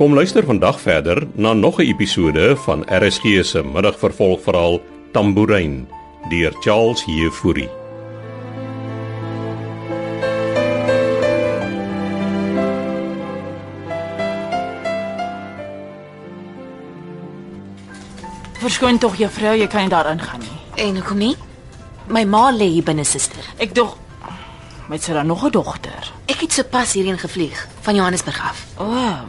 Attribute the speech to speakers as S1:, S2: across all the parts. S1: Kom luister vandag verder na nog 'n episode van RSG se middagvervolgverhaal Tambourine deur Charles Heffury.
S2: Verskoon tog juffrou, jy kan nie daarin gaan nie.
S3: En hoekom nie? My ma lê hier binne, suster.
S2: Ek dog met sy dan nog 'n dogter.
S3: Ek het sopas hierheen gevlieg van Johannesburg af.
S2: O. Oh,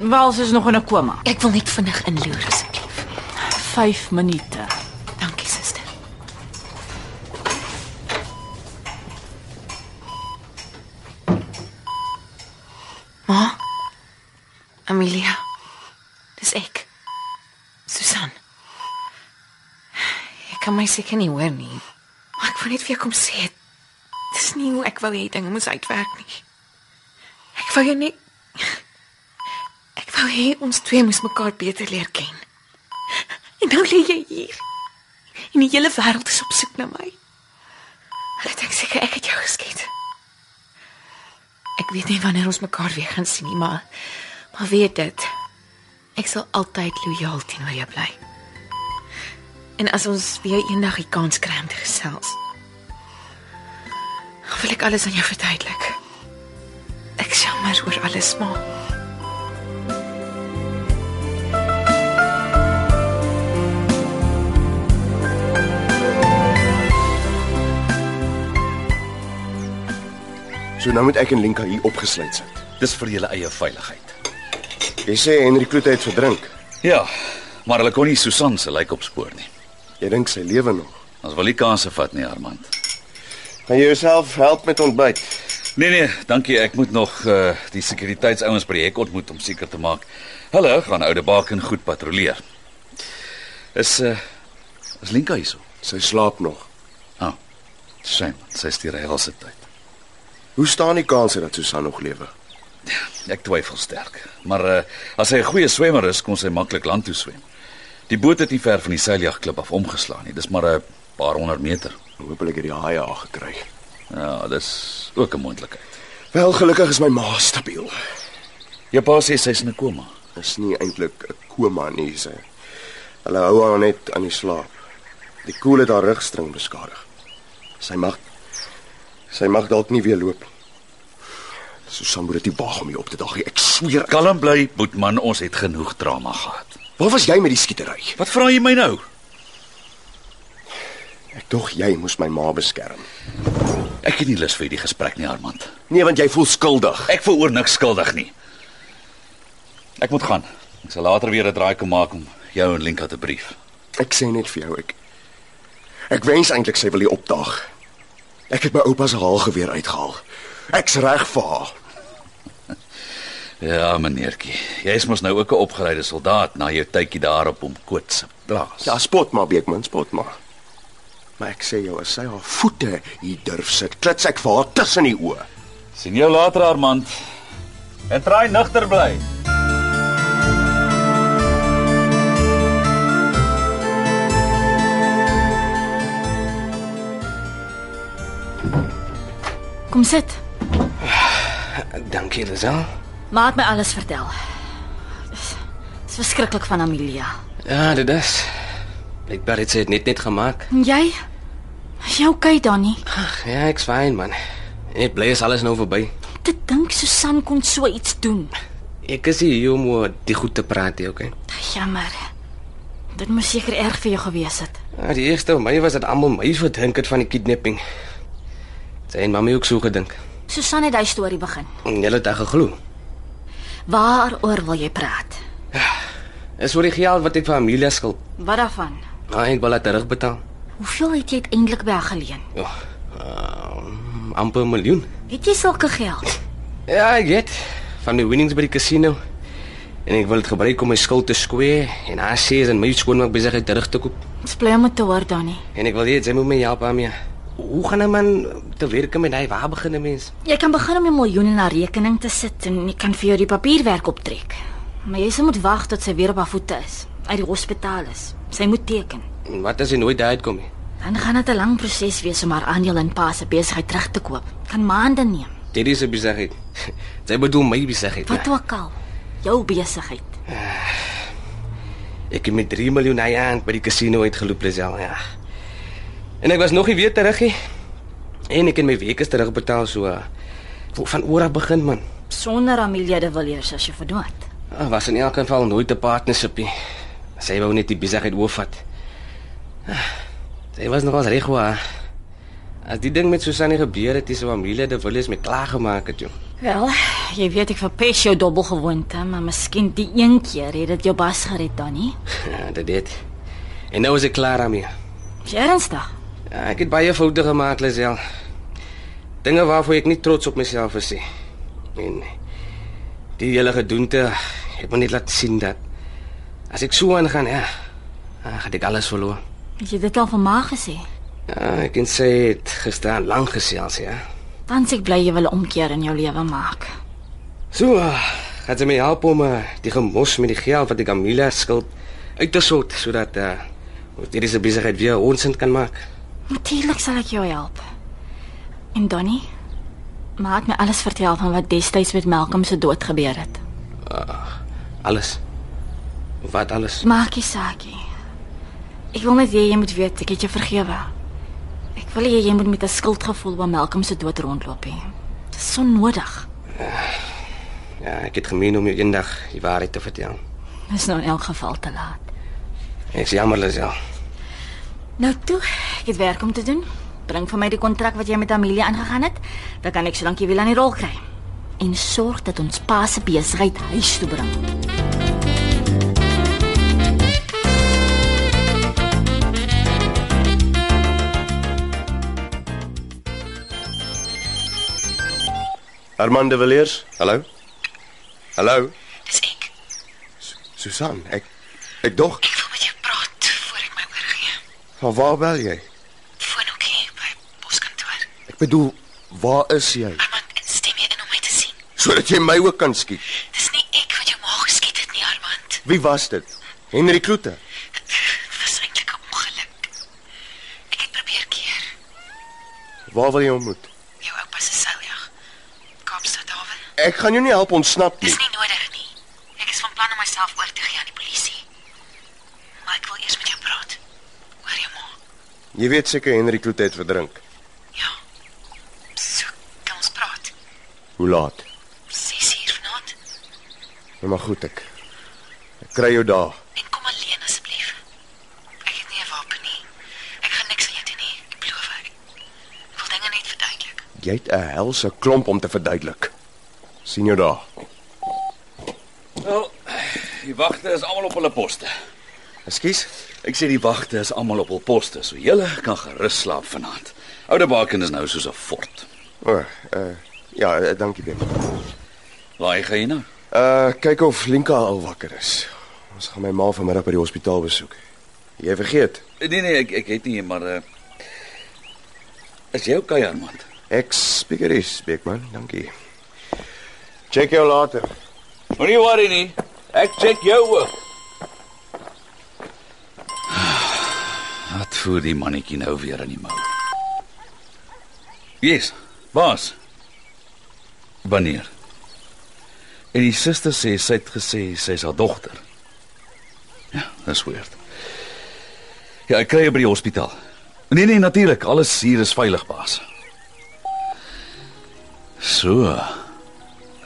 S2: wel, sy is nog in 'n koma.
S3: Ek wil net vinnig inloer asseblief.
S2: 5 minute.
S3: Dankie, suster. Ma? Amelia. Dis ek. Susan. Ek kan my seker nie hoor nie. Maar ek wou net vir jou kom sê. Dis nie hoe ek wou hê dinge moes uitwerk nie. Ek wou jou net Ek wou hê ons twee moes mekaar beter leer ken. En nou lê jy hier. En die hele wêreld is op soek na my. Hulle dink seker ek het jou geskiet. Ek weet nie wanneer ons mekaar weer gaan sien nie, maar maar weet dit. Ek sal altyd lojaal teenoor jou bly. En as ons weer eendag die kans kry om te gesels, wil ek alles aan jou verduidelik. Ek jammer oor alles, maar
S4: So nou moet ek en Lenka hier opgesluit sit.
S5: Dis vir julle eie veiligheid.
S4: Jy sê Henry Kloete het verdrink.
S5: Ja, maar hulle kon nie Susan se lijk opspoor nie.
S4: Jy dink sy lewe nog.
S5: Ons wil nie kanse vat nie, Armand.
S4: Kan jy jouself help met ontbyt?
S5: Nee nee, dankie, ek moet nog uh, die sekuriteitsouens by die hek ontmoet om seker te maak hulle gaan Oude Baken goed patrolleer. Is uh, is Linka hierso?
S4: Sy slaap nog.
S5: Ah. Shame, sy steur hy al se tyd.
S4: Hoe staan die kanse dat Susan nog lewe?
S5: Ek twyfel sterk, maar uh, as hy 'n goeie swemmer is, kon sy maklik land toe swem. Die boot het nie ver van die seiljagklip af omgeslaan nie. Dis maar 'n paar honderd meter.
S4: Hoopelik Nou het die haai haar gekry.
S5: Ja, dis ook 'n moontlikheid.
S4: Wel gelukkig is my ma stabiel.
S5: Jou pa sê sy's in 'n koma.
S4: Is nie eintlik 'n koma nie, sy. Hulle hou haar net aan die slaap. Die koel het haar rugstring beskadig. Sy mag sy mag dalk nie weer loop nie. Susan moet dit nie waag om hier op te dag nie. Ek sweer. Ek...
S5: Kalm bly, Boetman, ons het genoeg drama gehad.
S4: Waar was jy met die skietery?
S5: Wat vra jy my nou?
S4: Ek dog jy moes my ma beskerm.
S5: Ek het nie lus vir hierdie gesprek nie, Armand.
S4: Nee, want jy voel skuldig.
S5: Ek voel oor niks skuldig nie. Ek moet gaan. Ek sal later weer 'n draai kom maak om jou en Linka te brief.
S4: Ek sê net vir jou ek ek wens eintlik sy wil hier opdaag. Ek het my oupa se haalgeweer uitgehaal. Ek's reg vir haar.
S5: Ja, meneertjie. Jy is mos nou ook 'n opgeleide soldaat na jou tydjie daar op hom koets se plaas.
S4: Ja, spot maar Beekman, spot maar. Maar ek sê jou as sy haar voete hier durf sit, klits ek vir haar tussen die oë.
S5: sien jou later, Armand. En probeer nugter bly.
S3: Kom sit.
S6: Dankie, Lizel.
S3: Ma het my alles vertel. Dit is verskriklik van Amelia.
S6: Ja, dit is. Blykbaar het sy dit net net gemaak.
S3: En jy? Is jy okay dan nie?
S6: Ag, ja, ek's fyn, man. Net bly is alles nou verby.
S3: Om Te dink Susan kon so iets doen.
S6: Ek is hier om oor die goed te praat, jy, okay?
S3: Jammer. Dit moes seker erg vir jou gewees het.
S6: Ja, die eerste om my was dit almal my verdink het van die kidnapping. Sy en mamma ook so gedink.
S3: Susan het daai storie begin.
S6: En hulle het dit geglo.
S3: Waaroor wil jy praat?
S6: Ja, Is oor die geld wat ek vir Amelia skuld.
S3: Wat daarvan?
S6: Maar ek wil dit terugbetaal.
S3: Hoeveel het jy uiteindelik weggeleen?
S6: Ja. Uh, amper 'n miljoen.
S3: Het jy sulke geld?
S6: Ja, ek het van die winnings by die casino. En ek wil dit gebruik om my skuld te square en haar sês en my skoonmaak besigheid terug te koop.
S3: Ons bly om dit te hoor dan nie.
S6: En ek wil hê jy moet my help daarmee. Hoe gaan 'n man te werk met hy waar begin 'n mens?
S3: Jy kan begin om 'n miljoen in haar rekening te sit en jy kan vir jou die papierwerk optrek. Maar jy sal moet wag tot sy weer op haar voete is, uit die hospitaal is. Sy moet teken.
S6: En Wat as hy nooit daai uitkom nie?
S3: Dan gaan dit 'n lang proses wees om haar aandeel in Pa se besigheid terug te koop. Kan maande neem.
S2: Ja.
S6: Dit is 'n besigheid. ja. Sy bedoel my besigheid.
S3: Wat ook al.
S7: jou besigheid?
S6: Ek het met 3 miljoen hy aan by die casino uitgeloop Lisel, ja. En ek was nog nie weer terug nie. En ek het my weke terugbetaal so uh, van oor af begin man.
S7: Sonder Amelia de Villiers as jy verdoet.
S6: Ah, was in elk geval nooit 'n partnership nie. Sy wou net die besigheid oorvat. Ah, Sy was nogals reg hoor. As die ding met Susanne gebeur het, dis hoe Amelia de Villiers my klaar gemaak het, jong.
S7: Wel, jy weet ek verpes jou dobbelgewoonte, maar miskien die een keer het dit jou bas gered dan nie.
S6: Ja, dit dit. En nou is ek klaar daarmee.
S7: Is jy ernstig?
S6: Ja, ek het baie foute gemaak, Lisel. Dinge waarvoor ek nie trots op myself is nie. En die hele gedoente het my net laat sien dat as ek so aangaan, ja, dan gaan ek alles verloor.
S7: Het jy dit al van ma gesê?
S6: Ja, ek en sy het gisteraan lank gesels, ja.
S7: Dan sê ek bly jy wil 'n omkeer in jou lewe maak.
S6: So, ah, het sy my help om uh, die gemos met die geld wat ek aan Mila skuld uit te sort sodat uh, ons hierdie se besigheid weer ons kan maak.
S7: Natuurlik sal ek jou help. En Donnie, ma het my alles vertel van wat destyds met Malcolm se dood gebeur het.
S6: Alles. Wat alles?
S7: Maak nie saak nie. Ek wil net hê jy moet weet ek het jou vergewe. Ek wil nie hê jy moet met 'n skuldgevoel oor Malcolm se dood rondloop nie. Dit is so nodig.
S6: Ja, ek het gemeen om jou eendag die waarheid te vertel.
S7: Dis nou in elk geval te laat.
S6: Ek's jammer, Lisel.
S7: Nou toe, ek het werk om te doen. Bring vir my die kontrak wat jy met Amelia aangegaan het, dan kan ek solank jy wil aan die rol kry. En sorg dat ons pa se besigheid huis toe bring.
S4: Herman de Villiers. Hallo. Hallo.
S3: Dis ek.
S4: Susan, ek ek dog.
S3: Ek wil met jou praat voor ek my oorgee.
S4: Van waar bel jy?
S3: Foonhoekie by poskantoor.
S4: Ek bedoel, waar is jy
S3: Armand instem jy in om my te sien.
S4: sodat jy my ook kan skiet?
S3: Dis nie ek wat jou ma geskiet het nie, Armand.
S4: Wie was dit? Henry Kloete.
S3: Dit was eintlik 'n ongeluk. Ek het probeer keer.
S4: Waar wil jy hom ontmoet?
S3: Jou oupa se ja. seiljag. Kaapstad hawe.
S4: Ek gaan jou nie help ontsnap nie.
S3: Dis nie nodig nie. Ek is van plan om myself oor te gee aan die polisie. Maar ek wil eers met jou praat. Oor jou ma.
S4: Jy weet seker Henry Kloete het verdrink.
S3: Ja. So kan ons praat.
S4: Hoe laat?
S3: 6 uur vanaand.
S4: Nou maar goed ek. Ek kry jou daar.
S3: En kom alleen asseblief. Ek het nie 'n wapen nie. Ek gaan niks aan jou doen nie. Ek beloof ek. Ek wil dinge net verduidelik.
S4: Jy het 'n helse klomp om te verduidelik. sien jou daar.
S5: Wel, die wagte is almal op hulle poste.
S4: Ekskuus.
S5: Ek sê die wagte is almal op hul poste, so julle kan gerus slaap vanaand. Oude Baken is nou soos 'n fort.
S4: O, oh, uh ja, eh, dankie baie.
S5: Waar gaan jy nou?
S4: Uh kyk of Linka al wakker is. Ons gaan my ma vanmiddag by die hospitaal besoek. Jy vergeet.
S5: Nee nee, ek ek het nie, maar uh, is jy okay, Armand?
S4: Ek speakeries, Beekman, dankie. Check jou later.
S5: Moenie worry nie. Ek check jou ook. Wat voer die mannetjie nou weer in die mou? Yes, baas. Wanneer? En die suster sê sy het gesê sy's haar dogter. Ja, dis weird. Ja, ek kry haar by die hospitaal. Nee nee, natuurlik, alles hier is veilig, baas. So.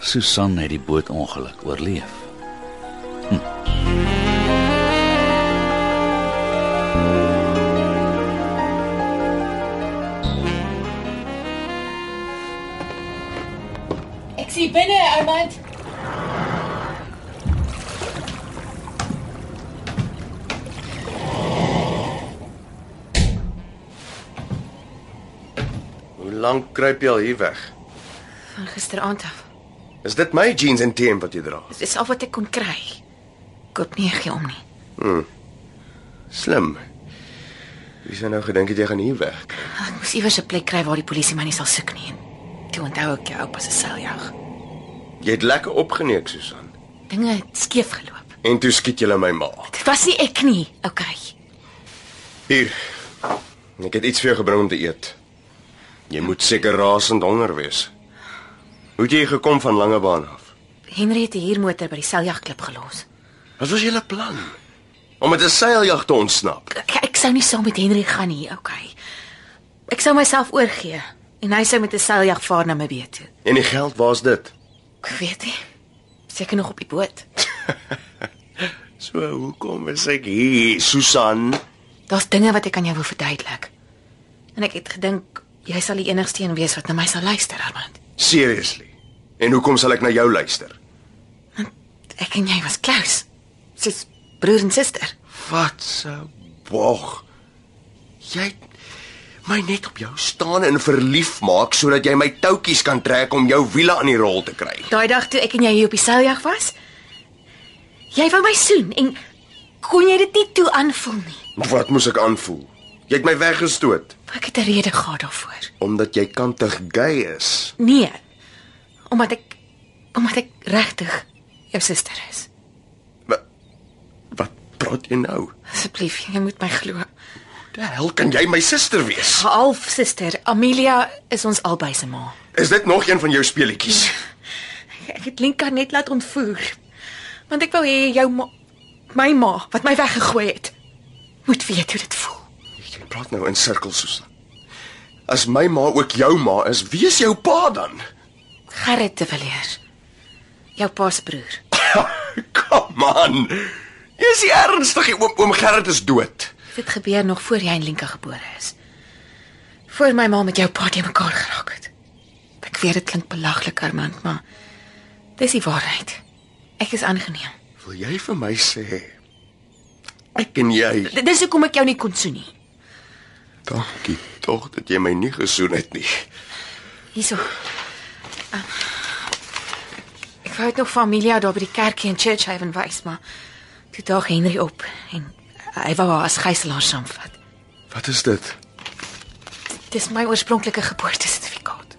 S5: Susan het die bootongeluk oorleef.
S2: Ek sien binne, Armand.
S4: Hoe lank kruip jy al hier weg?
S3: Van gisteraand af.
S4: Is dit my jeans en T-shirt wat jy dra?
S3: Dit is al wat ek kon kry. Koop nie gee om nie.
S4: Slim. Wie sou nou gedink het jy gaan hier weg?
S3: Ek moes iewers 'n plek kry waar die polisie my nie sal soek nie. En Toe onthou ek jou oupa se seiljag.
S4: Jy het lekker opgeneek, Susan.
S3: Dinge het skeef geloop.
S4: En toe skiet jy my ma.
S3: Dit was nie ek nie. Okay.
S4: Hier. Ek het iets vir jou gebring om te eet. Jy moet seker rasend honger wees. Hoe het jy gekom van Langebaan af?
S3: Henry het die huurmotor by die seljagklub gelos.
S4: Wat was julle plan? Om met 'n seiljag te ontsnap.
S3: Ek, ek sou nie saam met Henry gaan nie, okay. Ek sou myself oorgee en hy sou met 'n seljag vaar na Mbewe toe.
S4: En die geld, waar's dit?
S3: Ek weet nie. Seker nog op die boot.
S4: So, hoekom is ek hier, Susan?
S3: Daar's dinge wat ek aan jou wil verduidelik. En ek het gedink jy sal die enigste een wees wat na my sal luister, Armand.
S4: Seriously. En hoekom sal ek na jou luister?
S3: Ek en jy was close. Soos broer en suster.
S4: Wat sou bog? Jy het my net op jou staan en verlief maak sodat jy my toutjies kan trek om jou wiele aan die rol te kry.
S3: Daai dag toe ek en jy hier op die seiljag was, jy wou my soen en kon jy dit nie toe aanvoel nie.
S4: Wat moes ek aanvoel? Jy het my weggestoot
S3: Ek het 'n rede gehad daarvoor.
S4: omdat jy kantig gay is.
S3: Nee. Omdat ek omdat ek regtig jou suster is.
S4: Wat, wat praat jy nou?
S3: Asseblief, jy moet my glo.
S4: Die hel kan jy my suster wees?
S3: Half suster, Amelia is ons albei se ma.
S4: Is dit nog een van jou speletjies?
S3: Ek het Linka net laat ontvoer. Want ek wou hê jou ma, my ma wat my weggegooi het, moet weet hoe dit voel.
S4: Jy praat nou in sirkels, Susan. As my ma ook jou ma is, wie is jou pa dan?
S3: Gerrit de Villiers. Jou pa se broer.
S4: Kom aan. Jy's nie ernstig, oom oom Gerrit is dood.
S3: Dit gebeur nog voor jy en Linka gebore is. Voor my ma met jou pa te mekaar geraak het. Ek weet dit klink belaglik, Armand, maar dis die waarheid. Ek is aangeneem.
S4: Wil jy vir my sê ek en jy,
S3: D- Dis hoekom ek jou nie kon soen nie.
S4: dankie tog dat jy my nie gesoen het nie.
S3: Hierso. Ah. Ek wou dit nog familie daar by die kerkie in Churchhaven wys, maar toe daag Henry op en hy wou haar as gijslaer saamvat.
S4: Wat is dit?
S3: Dis my oorspronklike geboortesertifikaat.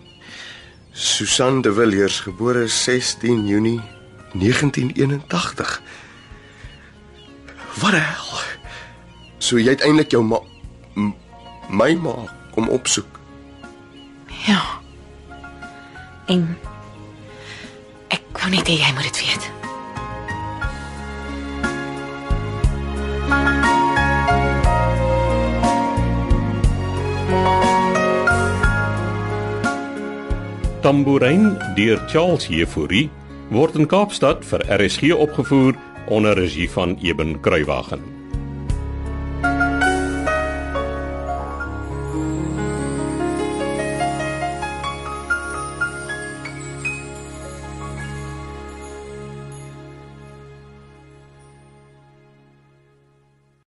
S4: Susan de Villiers, gebore 16 Junie 1981. Wat die hel? So jy het eintlik jou ma m- my ma kom opsoek.
S3: Ja. En ek kon net hê jy moet dit weet.
S1: Tambourine deur Charles Heffouri word in Kaapstad vir RSG opgevoer onder regie van Eben Kruiwagen.